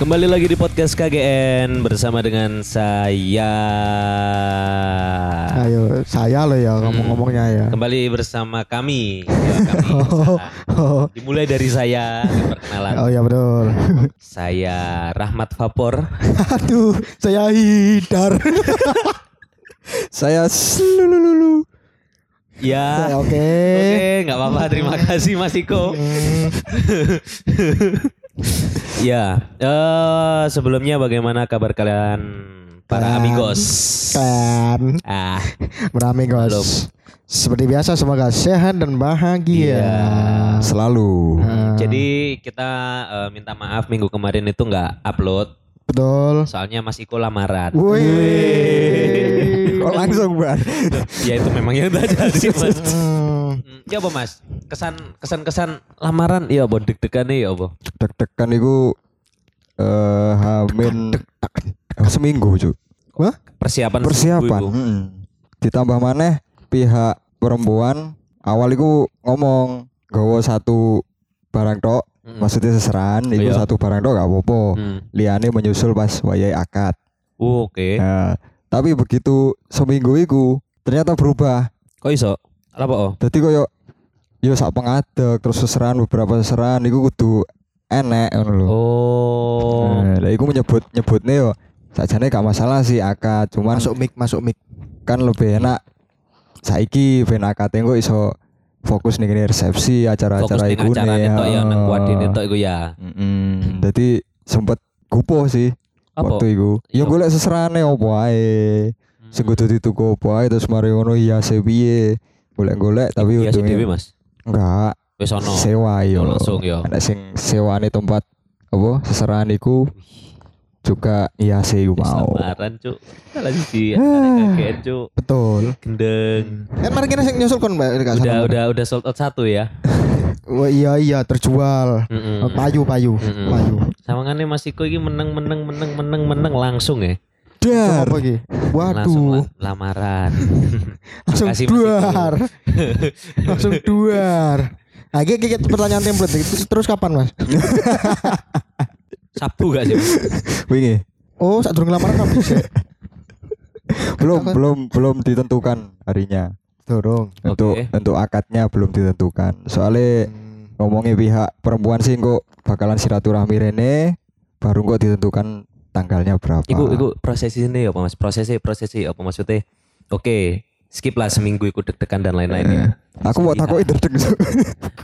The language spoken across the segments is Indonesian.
Kembali lagi di podcast KGN bersama dengan saya. Ayo, Ah, saya loh ya ngomong-ngomongnya Hmm. ya. Kembali bersama kami. Ya, kami salah. Oh, Dimulai dari saya perkenalan. oh ya betul. Saya Rahmat Vapor. Aduh, saya hidar. saya slululu. Ya. Ah. Saya oke. Oke, nggak apa-apa. Terima kasih Mas Iko. ya, eh, sebelumnya bagaimana kabar kalian para Kalian- amigos? Kan, Ah, berame Belum. guys. Seperti biasa semoga sehat dan bahagia. Iya. Selalu. jadi kita eh, minta maaf minggu kemarin itu nggak upload. betul. Soalnya Mas Iko lamaran. Wih. Kok langsung ban? ya itu memang yang tak jadi Mas. Hmm, Hmm, Ya apa Mas? Kesan kesan kesan lamaran ya apa deg-degan ya apa? Deg-degan iku eh hamin seminggu cuk. Wah, Persiapan Persiapan. seminggu Kan itu. Mm-mm. Ditambah maneh pihak perempuan awal iku ngomong gawa satu barang tok, Mm-mm. maksudnya seseran Mm. iku Iya. satu barang tok gak apa-apa. Hmm. Liane menyusul pas wayahe akad. Oh, Oke. Nah, tapi begitu seminggu iku ternyata berubah. Kok iso? Apa oh? Dadi koyo yo sak pengadeg terus seseran beberapa seseran iku kudu enek ngono lho. Oh. Nah, lah iku menyebut nyebutnya yo sajane gak masalah sih akad, cuman masuk mic, masuk mic. kan lebih enak saiki ben akad engko iso fokus nih gini resepsi Fokus acara-acara ning iku acara nih. itu ya nang kuadin Heeh. itu iku ya. Mm-mm. Dadi sempet gupo sih Apa? waktu iku. Iya. Hmm. Yo golek seserane opo ae. Sing kudu dituku opo ae terus mari ngono iya piye. Golek-golek tapi ya sih Dewi untungnya Mas. enggak Wis ono. sewa yo. Oh, langsung yo. Ada sing sewane tempat apa seserahan iku juga iya sih iku mau. Lamaran cuk. Salah Eh. sih kaget cuk. Betul. Gendeng. Kan Eh, mari kita sing nyusul kon Mbak. Kak Udah Salma. udah udah sold out satu ya. Wah, iya iya terjual. Oh, Mm-mm. Payu payu Mm. Mm-mm. payu. Sama kan Mas Iko ini menang menang menang menang menang langsung ya. Dar. Apa iki? Langsung Waduh, la- lamaran. langsung Makasih, Mas duar. langsung duar. Nah, iki- iki pertanyaan template Terus- terus kapan, Mas? Mm. Sabtu gak sih? Mas? Wingi. Oh, saat durung lamaran kan bisa. belum Katakan. belum belum ditentukan harinya Durung. untuk Oke. untuk akadnya belum ditentukan soalnya Hmm. ngomongin pihak perempuan sih kok bakalan silaturahmi rene baru kok ditentukan tanggalnya berapa Iku iku prosesi ini apa Mas? Prosesi prosesi apa maksudnya? Oke, skip lah seminggu ikut deg-degan dan lain-lain ya. Eh, aku mau Iya. takut derdeg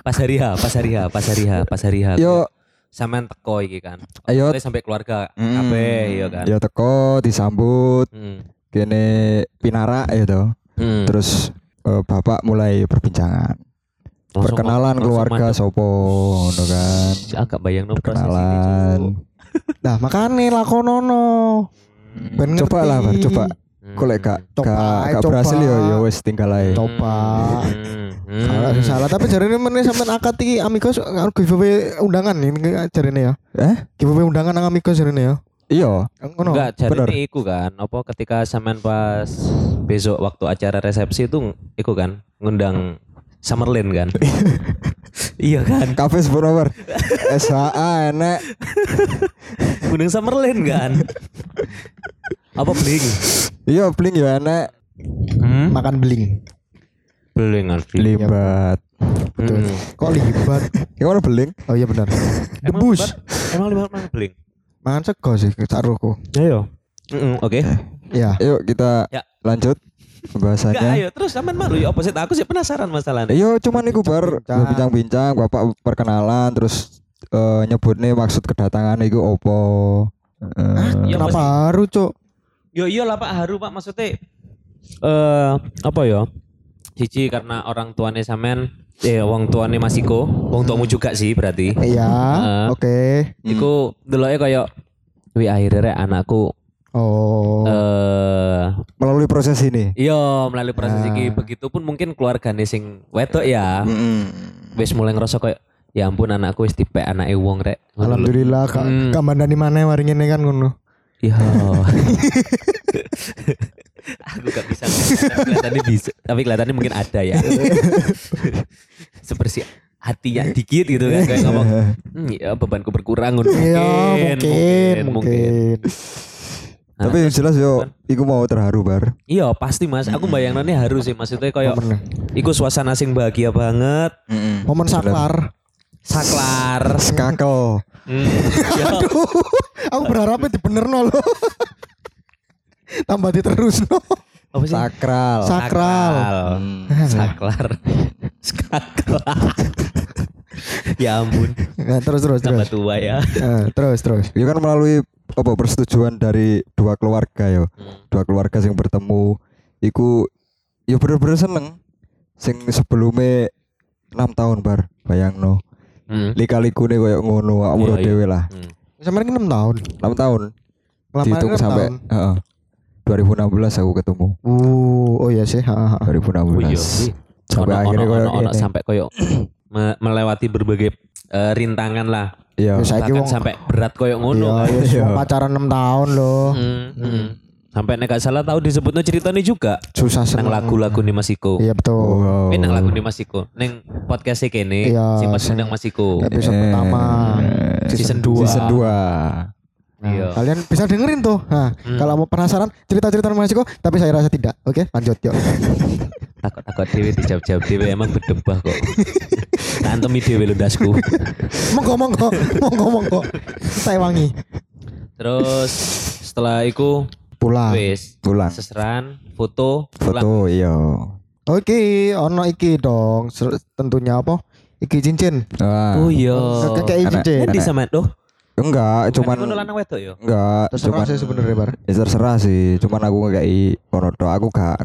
Pas hari H, pas hari H, pas hari H, pas hari H. yo Sampean teko iki kan. ayo Sampai sampai keluarga Mm. Hmm. kabeh ya kan. yo teko disambut Hmm. kene pinarak ya toh. Hmm. terus eh, bapak mulai perbincangan Langsung- perkenalan langsung keluarga mandek. sopo ngono kan Shhh, Agak bayang no perkenalan Nah, makane lakonono. Hmm. Ben ngerti. coba lah Bar, coba Kok lek gak Coba gak- ae, gak coba. berhasil yo yo wes tinggal ae. Coba. Hmm, Salah, salah. tapi jarene meneh sampean akad iki amigos nggak giveaway undangan ini jarene ya. Eh? Giveaway undangan nang amigos jarene ya. Iya, Ngono. Enggak, jadi bener. ini iku kan. Apa ketika sampean pas besok waktu acara resepsi itu iku kan ngundang Summerlin kan. iya kan? kafe Borower. SHA enek. Ngundang Summerlin kan. apa bling? Iya, bling yo enek. Hmm? Makan beling. Bling Alfi. Hmm. Limbat. Betul. Mm-mm. Kok libat? Gimana bling? Oh iya benar. Emang Debus. libat- Emang libat mana bling? Mangan sego sih taruhku. Ayo. Oke. Ya. Yuk kita Ya. lanjut Enggak, pembahasannya. ayo terus sampean malu ya opposite aku sih penasaran masalahnya. Iya, cuman iku bar Bincang-bincang. bincang-bincang, bapak perkenalan terus eh, nyebutne maksud kedatangan iku opo. Heeh. Ya, Kenapa pasti- haru, Cuk? Yo iya lah Pak Haru Pak maksudnya eh apa ya? Cici karena orang tuane sampean eh wong tuane Mas Iko, wong tuamu juga sih berarti. Iya. Heeh. Oke. Iku deloke koyo wi akhirnya rek anakku Oh. eh Melalui proses ini. iya melalui proses Nah. iki begitupun mungkin keluargane sing wedok ya Eh. Hmm. wis mulai ngerasa koyo ya ampun anakku wis tipe anake wong rek. Ngono lho. Alhamdulillah kak Hmm. Kak Mandani mana yang waringin kan ngono. Iya. Aku gak bisa ngomong, tapi kelihatannya bisa, tapi kelihatannya mungkin ada ya. Seperti hati tiak dikit gitu kan kayak ngomong Eh, hmm, ya bebanku berkurang ngono. Iya, mungkin, mungkin. Tapi yang jelas yo, iku mau terharu bar. Iya pasti mas, aku bayangannya harus sih maksudnya kayak iku suasana sing bahagia banget, Momen saklar. saklar. Skakel. Hmm. Iya. Aduh, aku berharapnya dibenerno loh. Tambah diterus no. Apa sih? Oh, Sakral. Sakral. Hmm. Saklar. Saklar. ya ampun, Nah, terus terus tambah terus. tua ya. Eh, terus terus. Itu kan melalui apa persetujuan dari dua keluarga yo. Hmm. Dua keluarga sing bertemu iku yo bener-bener seneng. Sing sebelumnya 6 tahun bar, bayangno. Hmm. Lika-likune koyo Iya, ngono Hmm. awakmu iya. dhewe lah. Hmm. Sampai kan 6 tahun. 6 tahun. Lamaran Dihitung enam sampai kan, tahun. heeh. 2016 aku ketemu. Uh, oh iya sih. Ha, ha, ha. 2016. Oh iya. Sampai Ono- akhirnya ono- koyo ono- ono ini. sampai koyo me- melewati berbagai eh, rintangan lah. Iya. Wis Ya, Saiki Bahkan wong- sampai berat koyo ngono. Iya, kan. iya, sih, pacaran 6 tahun loh. Hmm, hmm. Sampai nek gak salah tahu disebutnya ceritanya juga. Susah Nang seneng. lagu-lagu nih Mas Iko. Iya betul. Wow. Eh, nang lagu nih Mas Iko. Neng podcast kene Iya, sing pas sing- nang Mas Iko. Episode Eh, pertama. Season dua. Season 2. Nah, Iya. Kalian bisa dengerin tuh. Nah, kalau mau penasaran cerita-cerita Mas Iko, tapi saya rasa tidak. Oke, lanjut yuk. Takut-takut dhewe dijawab-jawab dhewe emang bedebah kok. Tak antemi dhewe lundasku. monggo monggo, monggo monggo. Saya wangi. Terus setelah itu Pulang. wis pulang. seseran foto, pulang. Foto iya. Oh, Oke, ono iki dong. Ser- Tentunya apa? Iki cincin. Ah. Oh iya. Kakek cincin. Endi sama Oh, tuh? Enggak, Eh, cuman ngono lanang wedok yo. enggak, Terserah cuman sih sebenarnya, Bar. Ya terserah sih, cuman aku nggak i kono tok, aku gak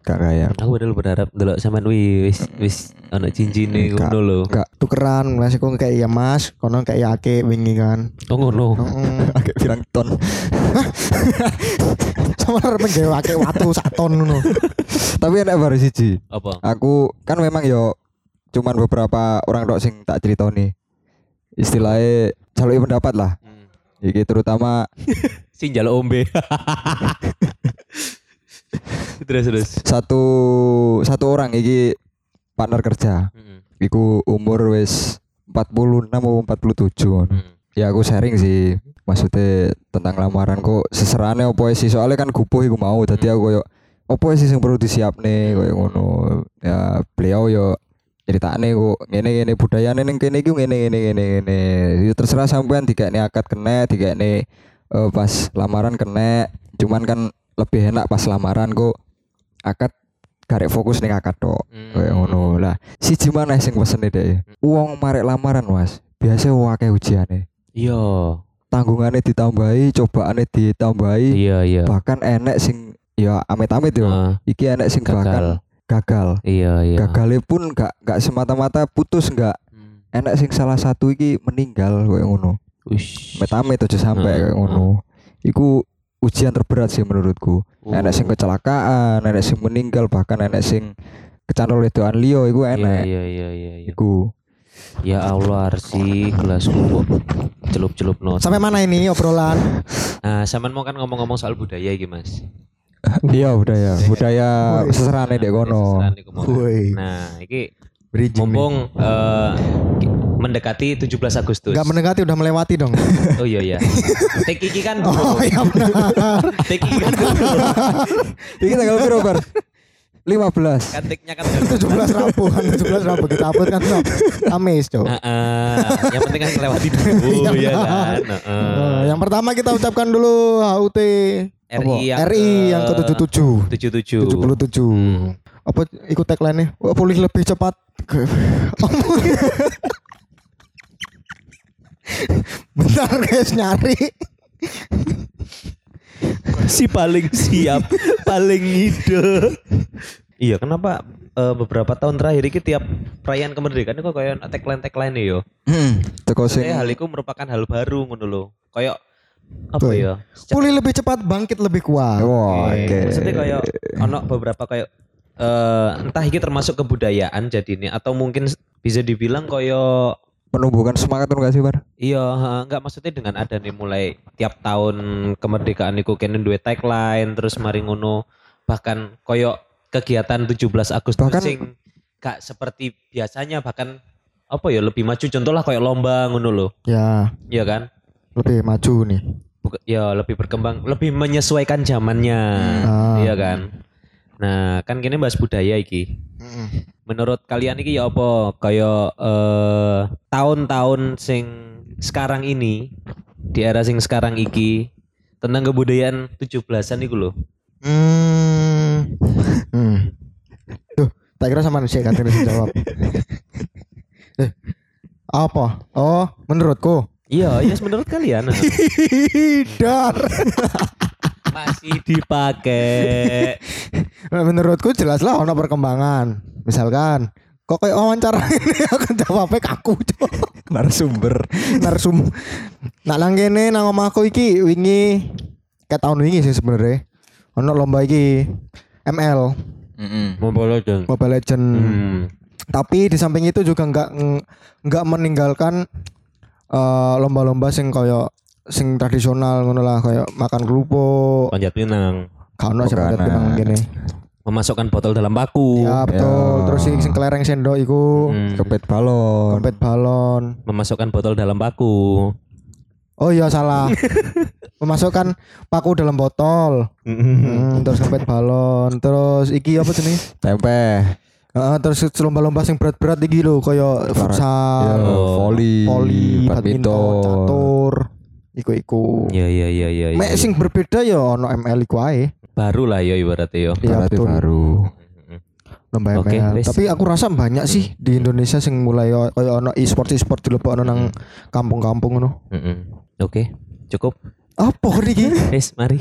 gak kayak Aku padahal berharap delok sampean wis wis ana cincine Enggak. ngono lho. gak Tukeran Mas Iko kayak iya Mas, kono kayak iya Ake wingi kan. Oh ngono. Heeh. agak pirang ton. Sama arep nggawe Ake watu sak ton ngono. Tapi enak baru siji. Apa? Aku kan memang yo cuman beberapa orang tok sing tak ceritoni. Istilahnya jalur pendapat lah. Hmm. Iki terutama Sing njaluk ombe. terus terus. satu satu orang iki partner kerja. Mm-mm. Iku umur wis 46 atau 47 ngono. Mm. Ya aku sharing sih maksudnya tentang lamaran kok seserane opo sih soalnya kan gupuh iku mau tadi aku koyo opo sih yang perlu disiapne koyo ngono. Ya beliau yo ceritane kok ngene ngene budayane ning kene iki ngene ngene ngene ngene. Ya terserah sampean dikene akad kene, dikene eh, pas lamaran kene. Cuman kan lebih enak pas lamaran kok akad garek fokus ning akad tok. Mm. Kayak Oh, ya, ngono lah. Siji maneh sing pesene dhek. Wong marek lamaran, Mas. Biasa wong akeh ujiane. Iya. Tanggungane ditambahi, cobaane ditambahi, Iya iya. bahkan enek sing ya amit-amit yo. Ah, Iki enek sing bahkan gagal. gagal. Iya iya. Gagale pun gak gak semata-mata putus gak Hmm. enek sing salah satu iki meninggal kayak ngono. Ush. Amit-amit aja sampe Heeh, kayak ngono. Iku ujian terberat sih menurutku. Oh. Enek sing kecelakaan, enek sing meninggal, bahkan enek sing kecantol wedokan liya iku Iya enek. iya iya iya. iya. Iku Ya Allah Arsi gelasku kok celup-celup no. Sampai mana ini obrolan? Nah, sampean mau kan ngomong-ngomong soal budaya iki, Mas. Iya budaya, budaya Woi. seserane dek kono. Sesaran Nah, iku mau. Woi. Nah, iki Bridging. mumpung eh, ki- mendekati 17 Agustus. Gak mendekati udah melewati dong. Oh iya iya. Take iki kan Oh bro. iya benar. Take iki kan bro. Iki tanggal piro, Bar? 15. Kan take-nya kan 17 Rabu kan 17 Rabu kita upload kan no. Kamis, Cok. Heeh. yang penting kan lewati dulu Iya, ya Ah, kan. Heeh. Eh, yang pertama kita ucapkan dulu HUT RI yang RI ke- yang ke-77 77. 77 Hmm. apa ikut tagline-nya Wah, pulih lebih cepat Ke- bentar guys nyari Si paling siap, paling ide. Iya, kenapa eh, beberapa tahun terakhir iki tiap perayaan kemerdekaan kok kayak ana tagline-tagline yo. Hmm, teko sing Saya hal itu merupakan hal baru ngono lho. Kayak apa iya. ya? Secara- pulih lebih cepat bangkit lebih kuat Wah, Oke. oke. Iya, Maksudnya kayak ono beberapa kayak eh entah iki termasuk kebudayaan jadinya atau mungkin s- bisa dibilang kayak Menumbuhkan semangat tuh gak sih, Bar? iya ha, enggak maksudnya dengan ada nih mulai tiap tahun kemerdekaan iku kene duwe tagline terus mari ngono bahkan koyo kegiatan 17 Agustus Bahkan- sing gak seperti biasanya bahkan apa ya lebih maju contoh lah kayak lomba ngono loh. Ya, Iya kan? lebih maju nih. Buka- ya lebih berkembang, lebih menyesuaikan zamannya. Ah. Iya kan? Nah, kan kini bahas budaya iki. Menurut kalian iki ya apa? Kayak eh, tahun-tahun sing sekarang ini di era sing sekarang iki tentang kebudayaan 17-an iku loh. Hmm. hmm. Duh, tak kira sama manusia kan terus jawab. eh, apa? Oh, menurutku. Iya, yes menurut kalian. nah. Dar. Masih dipakai. menurutku jelaslah ono perkembangan. Misalkan kok kayak wawancara ini aku jawabnya kaku cok Narasumber. narsum nak nang kene nang omahku iki wingi kayak tahun wingi sih sebenarnya ono lomba iki ML Membolong dong. Mobile Legend Hmm. tapi di samping itu juga nggak ng- nggak meninggalkan eh, lomba-lomba sing koyo sing tradisional ngono lah koyo makan kerupuk Panjat pinang. kano sing Makanan. padat pinang gini Memasukkan botol dalam paku. ya betul terus sing, sing kelereng sendok iku Hmm. Kepet balon. dompet balon memasukkan botol dalam paku. oh iya salah memasukkan paku dalam botol Hmm, terus dompet balon terus iki apa jenis Tempe. Heeh, terus lomba-lomba sing berat-berat iki lho koyo Ya, futsal voli, voli badminton badminton. catur iku-iku Ya ya ya ya. ya, Mek ya. sing berbeda ya ono ML iku ae. Baru lah ya ibaratnya yo. Iya, Berarti betul. baru. Lomba Oke, ML. wis. Tapi aku rasa banyak sih di Indonesia sing mulai o- kaya ono e-sport e-sport dilebokno nang kampung-kampung ngono. Mm-mm. Oke, cukup. Apa kon iki? Wis, mari.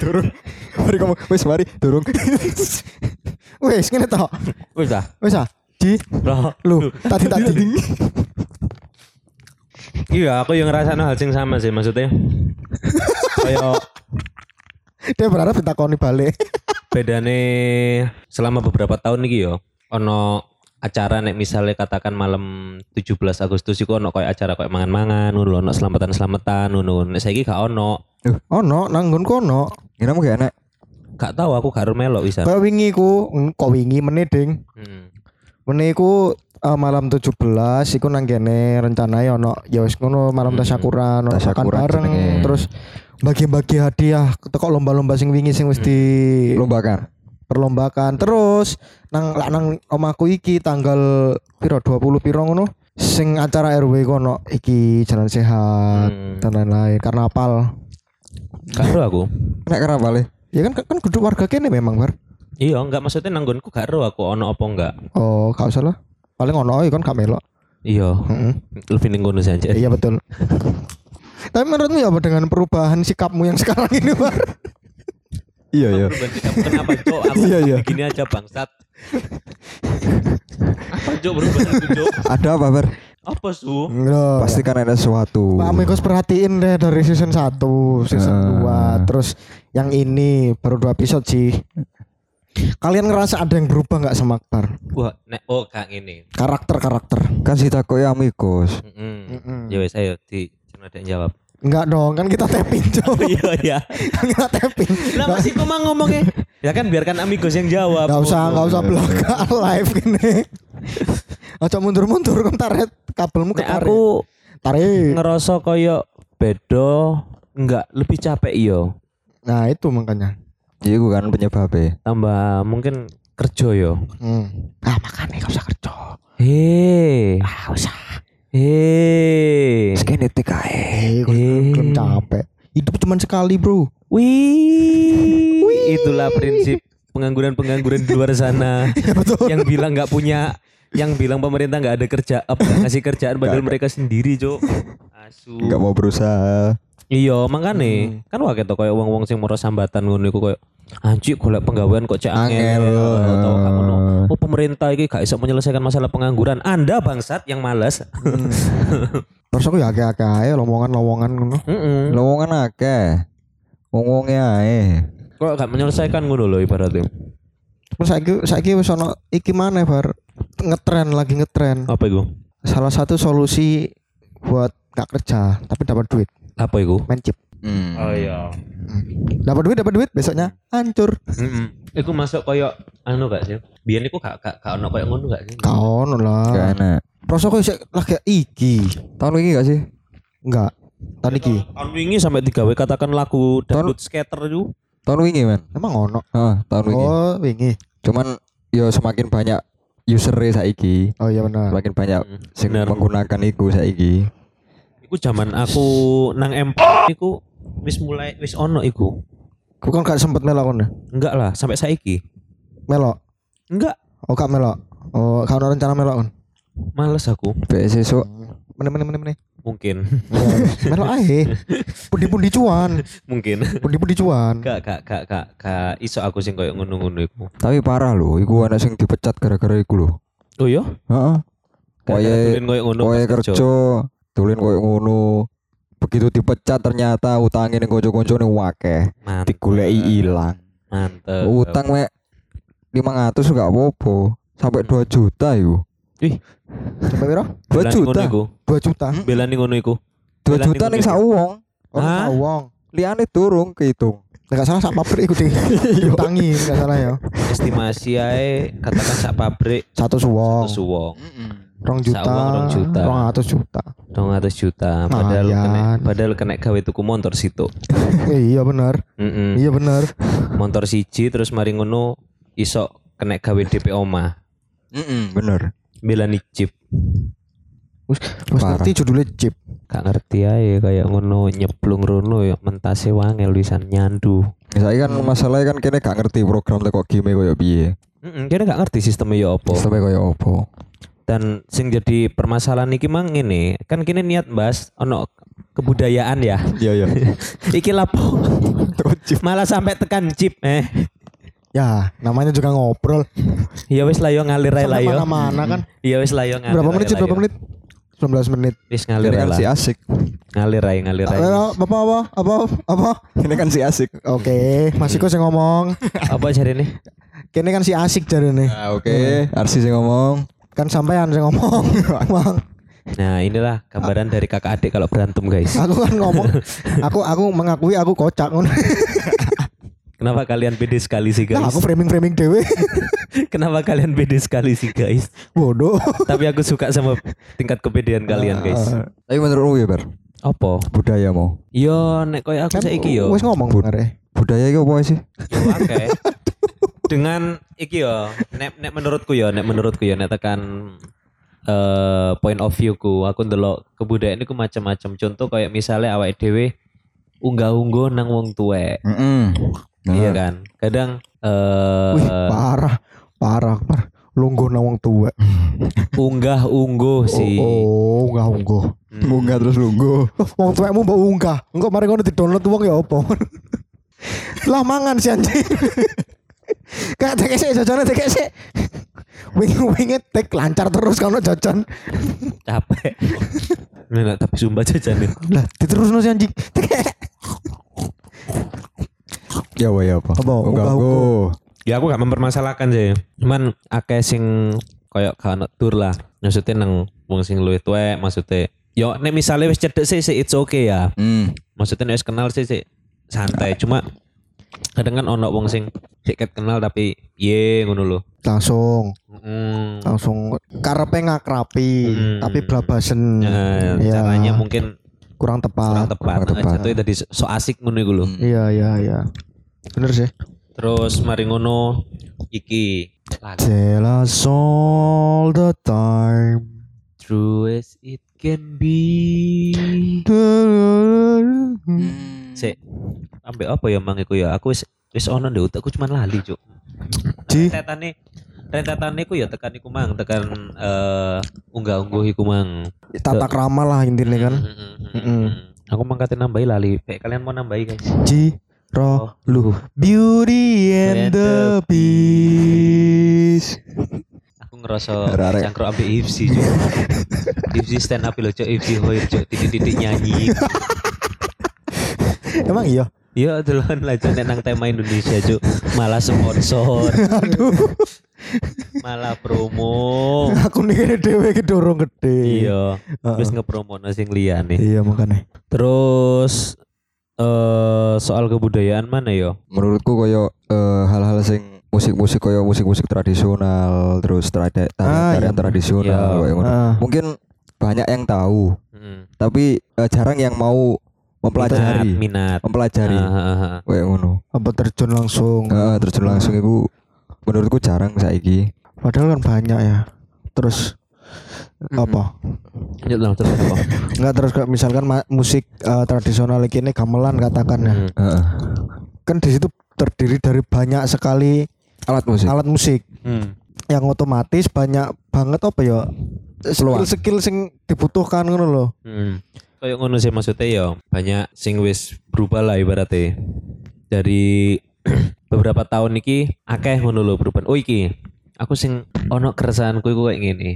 Turun. Mari kamu, wes mari turun. Wis ngene to. Wis dah. Wis ah. Di Loh, lu tadi tadi. Iya, aku yang ngerasa hal sing sama sih maksudnya. Kayak Dia berharap ditakoni balik. bedane selama beberapa tahun iki yo ono acara nek misalnya katakan malam 17 Agustus iku ono kayak acara kayak mangan-mangan ngono lho, ono selamatan-selamatan ngono. Nek saiki gak ono. Ono nang nggon kono. Ini kamu gak enak. Gak tahu aku gak melok bisa. Kaya wingi ku, mm, kok wingi meneh ding. Hmm. Meneh iku eh, malam 17 iku nang kene rencananya ono ya wis ngono malam tasyakuran ono makan Hmm. Tasyakuran bareng jenenge. terus bagi-bagi hadiah teko lomba-lomba sing wingi sing wis di Hmm. Lomba kan? perlombakan terus nang lak nang omahku iki tanggal piro 20 piro ngono sing acara RW kono iki jalan sehat Hmm. dan lain-lain karnaval Gak ero aku. Enak karena apa le? ya kan kan kudu warga kene memang bar Iya, enggak maksudnya nanggonku gak ero aku ono apa enggak. oh gak usah lah paling ono ae kan gak melok Iya, Heeh. lebih nenggono saja. Hmm. iya betul tapi menurutmu ya apa dengan perubahan sikapmu yang sekarang ini bar Iya iya. Perubahan sikap kenapa, Cok? Aku Iya, iya. begini aja bangsat. Apa, Cok, perubahan itu, Cok? Ada apa ber? Apa, Su? Loh. Pasti kan ada sesuatu. Oh, iya. Hmm. Pak Amikus perhatiin deh dari season 1, season Eh. 2, terus yang ini baru dua episode sih. Kalian ngerasa ada yang berubah nggak sama Akbar? Wah, nek oh kak ini. Karakter-karakter. Kasih takut ya amigos. Heeh. Ya wes ayo di jangan ada yang jawab. Enggak dong, kan kita tapping, Cok. Iya, iya. Kan kita tapping. Lah Nggak- masih kok mang ngomongnya. Ya kan biarkan amigos yang jawab. nggak usah, nggak usah blok live gini. Ojo mundur-mundur kan tarik kabelmu Nek ketarik. Iya. aku tarik. ngerasa koyo bedo enggak lebih capek iya. yo. Nah, itu makanya. Iya gue kan penyebabnya. Tambah mungkin kerja yo. Hmm. Ah, makanya nggak usah kerja. Hei. usah. Hei. Genetik aja. Eh, kok belum capek. Hidup cuma sekali, Bro. Wih. Itulah prinsip pengangguran-pengangguran di luar sana yang bilang nggak punya yang bilang pemerintah nggak ada kerja apa nggak ngasih kerjaan padahal mereka sendiri cok asu Gak mau berusaha. iya makanya kan wah gitu kayak uang uang sing moro sambatan ngono iku kayak anjir golek penggawean kok cek angel Angel. atau gak ngono. oh pemerintah iki gak iso menyelesaikan masalah pengangguran anda bangsat yang malas Terus aku ya agak-agak ae lomongan-lomongan ngono. Heeh. Lowongan akeh. Ngomongnya ae. kok gak menyelesaikan ngono loh ibaratnya Terus saiki saiki wis ono iki maneh bar ngetren lagi ngetren. apa itu Salah satu solusi buat gak kerja tapi dapat duit, apa itu main chip. oh iya Dapat duit, dapat duit, besoknya hancur. Heeh. Iku masuk koyo anu gak sih? biyen iku gak gak gak ono koyo ngono gak sih? Kaon Gak lah. enak. Rasa kok isek lah kayak iki. Tahun ini gak sih? Enggak. Tadi iki. Tahun wingi sampai 3 W katakan lagu dangdut skater itu Tahun ini men. Emang ono. Ah, tahun ini. Oh, wingi. Cuman yo semakin banyak user e saiki, Oh iya benar. semakin banyak sing Hmm, bener. menggunakan iku saiki. iku zaman aku nang MP iku wis mulai wis ono iku. Kau kan gak sempet melok kon. Enggak lah, sampai saiki. Melok. Enggak, Oh gak melok. Oh, kau ada rencana melok kon. males aku Bek sesuk Mene mene mene mene. mungkin. Melok ae. Pundi-pundi cuan. mungkin. Pundi-pundi cuan. Enggak, gak gak gak gak iso aku sing koyo ngono-ngono iku. tapi parah lho, iku anak sing dipecat gara-gara iku lho. Oh iya? Heeh. Koye koyo ngono. koye pas kerja, tulen koyo ngono. Begitu dipecat ternyata utangnya ning kanca-kancane akeh, Mantep. digoleki ilang. Mantep. Utang mek 500 gak apa-apa, sampai Hmm. 2 juta yo. Sampai piro? 2 Belani ngono juta. iku. 2 juta. Belani ngono iku. 2 Belani juta ngono ning iku. sak wong. Orang Hah? tahu wong. Liane durung kehitung. Enggak salah sak pabrik iku di diutangi enggak salah ya. Estimasi ae katakan sak pabrik Satu Oh. suwong. suwong Rong juta. Sawang rong juta. Rong atus juta. 200 Ah, juta padahal Lumayan. kena padahal kena gawe tuku motor situ. Eh, iya benar. Heeh. Iya benar. Motor siji terus mari ngono iso kena gawe DP omah. Hmm, Bener. Belani jeep. Wis wis Parah. ngerti judulnya chip. Gak ngerti ae kayak ngono nyeblung rono ya mentase wangel wisan nyandu. Saya kan masalahnya kan kene gak ngerti program teko game koyo piye. Heeh, kira gak ngerti sistemnya ya apa. Sampai koyo opo. Dan sing jadi permasalahan iki mang ngene, kan kini niat bahas ono kebudayaan ya. Iya ya. iki lapo malah sampai tekan chip eh. Ya, namanya juga ngobrol. Ya wis lah yo ngalir ae lah Sampai yo. mana-mana kan. Ya wis lah yo ngalir. Berapa ae menit lah sih? ya. Berapa yo. menit? 19 menit. Wis ngalir Ini ae kan lah. si ah. asik. Ngalir ae ngalir ae. Eh, apa apa apa apa? Ini kan si asik. Oke, Mas Iko sing ngomong. Apa jarene? Kene kan si asik Ya. jarene. Nah, Ah, oke, Arsi sing ngomong. Kan sampean sing ngomong. Bang, Nah, inilah gambaran dari kakak adik kalau berantem, guys. aku kan ngomong. Aku aku mengakui aku kocak ngono. Kenapa kalian beda sekali sih, Lah guys? aku framing-framing dewe. Kenapa kalian beda sekali sih, guys? Bodoh. Tapi aku suka sama tingkat kepedean kalian, Ah. guys. Ah, Tapi menurutmu ya, Bar? Apa? Budaya mau. Yo, nek koyo aku Kan saiki yo. eh, Wis ngomong bener. Budaya itu apa sih? Yo akeh. Dengan iki yo, nek nek menurutku yo, nek menurutku yo nek tekan eh point of view ku, aku ndelok kebudayaan iku macam-macam. Contoh kayak misalnya awake dhewe unggah-ungguh nang wong tuwek. Heeh. Iya kan? Kadang eh Nah. Wih, parah. Parah, parah. Lungguh nang wong tua. unggah-ungguh sih. Oh, enggak unggah. Munggah terus lungguh. Loh, Wong tuwekmu mbok unggah. Engko mari ngono di-download wong ya opo. Lah mangan si anjing. Kak tekek sik jajane tekek sik. Wingi-wingi tek lancar terus kono jajan. Capek. Nah, tapi sumpah jajan itu. Lah diterusno si anjing. Tekek. Ya wae apa? Apa? Unggah Unggah-ungguh. Ya aku gak mempermasalahkan sih. Cuman akeh sing koyok gak ono tur lah. Maksudnya nang wong sing luwih tuwek maksudnya. Yo nek misalnya wis cedek sih sih it's okay ya. Hmm. Maksudnya nek wis kenal sih sih santai. Cuma kadang kan ono wong sing sik ket kenal tapi ye ngono lho. Langsung, Mm. langsung karepe ngakrapi, Hmm. tapi blabasen. Eh, Iya, caranya mungkin kurang kurang tepat. tepat. Nah, kurang tepat. Jatuhnya tadi so- so asik ngono iku lho. Iya, iya, iya. Bener sih. Terus mari ngono iki lagu Tell us all the time. True as it can be. Hmm. Sik. Ambek apa ya mang iku ya? Aku wis wis ono ndek utekku cuman lali, Cuk. Di? Rentetane rentetane ku ya tekan iku mang, tekan eh unggah-ungguh iku mang. Tata krama lah intinya kan. Mm-mm. Aku mangkate nambahi lali. Pek kalian mau nambahi, guys. Hmm. Ciro lu Oh. Beauty and the Beast. Aku ngerasa Arek-arek. cangkruk ambek Ipsi, Cuk. Ipsi stand up e lho, Cuk. Ipsi hoir, Cuk. Titik-titik nyanyi. Emang iya? Iya, duluan lah Cuk. nek nang tema Indonesia, Cuk. Malah sponsor. Malah promo. Aku nih dewe ki dorong gede. Iya, wis ngepromono sing liyane. Iya makanya. Terus eh soal kebudayaan mana yo? Menurutku koyo eh, hal-hal sing musik-musik koyo musik-musik tradisional terus trade- tarian-tarian iya. tradisional Iya. koyo ngono. Ah. Mungkin banyak yang tahu, Mm. tapi eh, jarang yang mau mempelajari, minat. minat. mempelajari Ah, ah, ah. koyo ngono. apa terjun langsung Heeh, terus langsung iku menurutku jarang saiki. padahal kan banyak ya terus apa Lanjut dong, terus apa? nggak terus kayak misalkan ma- musik eh, tradisional ini gamelan katakan ya Mm. Heeh. kan di situ terdiri dari banyak sekali Alat musik. alat musik Mm. yang otomatis banyak banget apa ya Peluang. skill skill sing dibutuhkan ngono loh Hmm. Kayak ngono sih maksudnya ya banyak sing wis berubah lah ibaratnya. Dari beberapa tahun iki akeh ngono lho perubahan. Oh iki aku sing ono keresahanku iku kayak ngene.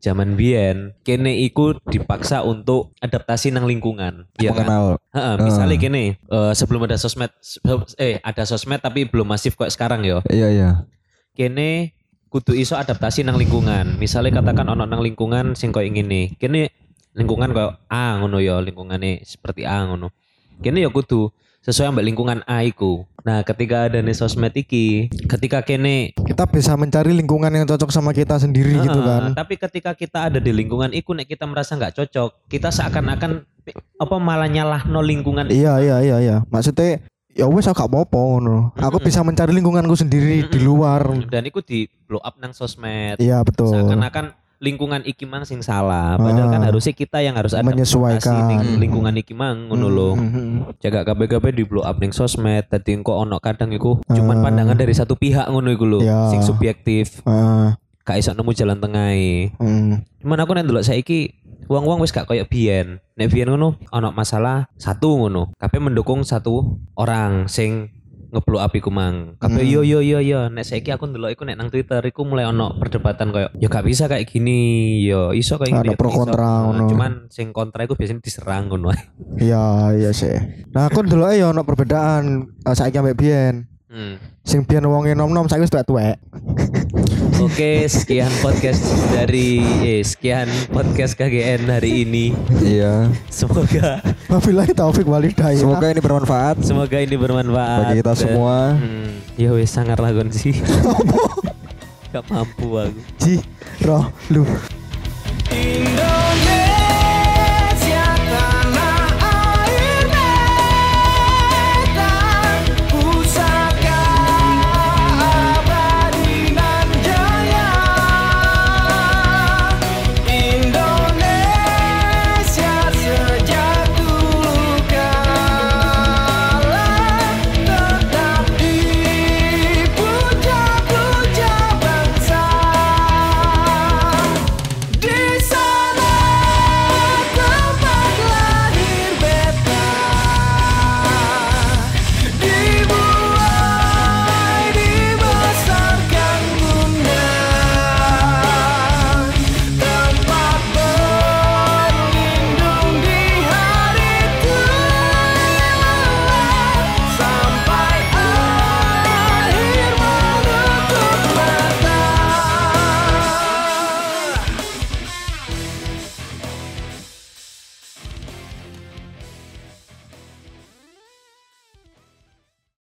Zaman biyen kene iku dipaksa untuk adaptasi nang lingkungan. Iya kan? mengenal Heeh, misalnya gini, eh, sebelum ada sosmed sebelum- eh ada sosmed tapi belum masif kayak sekarang ya. iya iya kene kudu iso adaptasi nang lingkungan. Misalnya katakan ono nang lingkungan sing koyo ngene. Kene lingkungan koyo A ngono ya, lingkungane seperti A ngono. Kene ya kudu sesuai ambek lingkungan A iku. Nah, ketika ada nih sosmed iki, ketika kene kita bisa mencari lingkungan yang cocok sama kita sendiri gitu Ah, kan Tapi ketika kita ada di lingkungan iku nek kita merasa nggak cocok, kita seakan-akan apa malah nyalahno lingkungan iya iya iya iya maksudnya ya wes aku gak apa-apa ngono aku Mm-mm. bisa mencari lingkunganku sendiri di Hmm. luar dan iku di blow up nang sosmed. iya betul Seakan-akan lingkungan iki mang sing salah, padahal kan Ah. harusnya kita yang harus ada Asli menyesuaikan Hmm. ning lingkungan iki mang ngono lho. Jaga kabeh-kabeh di blow up ning sosmed dadi engko ono kadang iku cuman Ah. pandangan dari satu pihak ngono iku lho, Ya. sing subjektif, Heeh. gak iso nemu jalan tengah. Mm. Cuman aku nek ndelok saiki wong-wong wis gak koyo biyen. Nek biyen ngono ono masalah satu ngono, kabeh mendukung satu orang sing ngeblow up iku mang. Kabeh Hmm. yo yo yo yo nek saiki aku ndelok iku nek nang Twitter iku mulai ono perdebatan koyo ya gak bisa kayak gini, yo iso kayak Ada gini. yo pro iso." kontra Nah, ngono. Cuman sing kontra iku biasanya diserang ngono. ae. iya iya sih nah aku dulu ya ono perbedaan eh, saiki ambek biyen Hmm. sing biyen wonge nom-nom saiki wis tuwek-tuwek Oke, sekian podcast dari eh, sekian podcast KGN hari ini. iya Semoga wabillahi taufik walidayah semoga ini bermanfaat semoga ini bermanfaat bagi kita Dan- semua Hmm, ya wes sangar lah Gon, sih. Gak mampu aku. ji roh lu Indonesia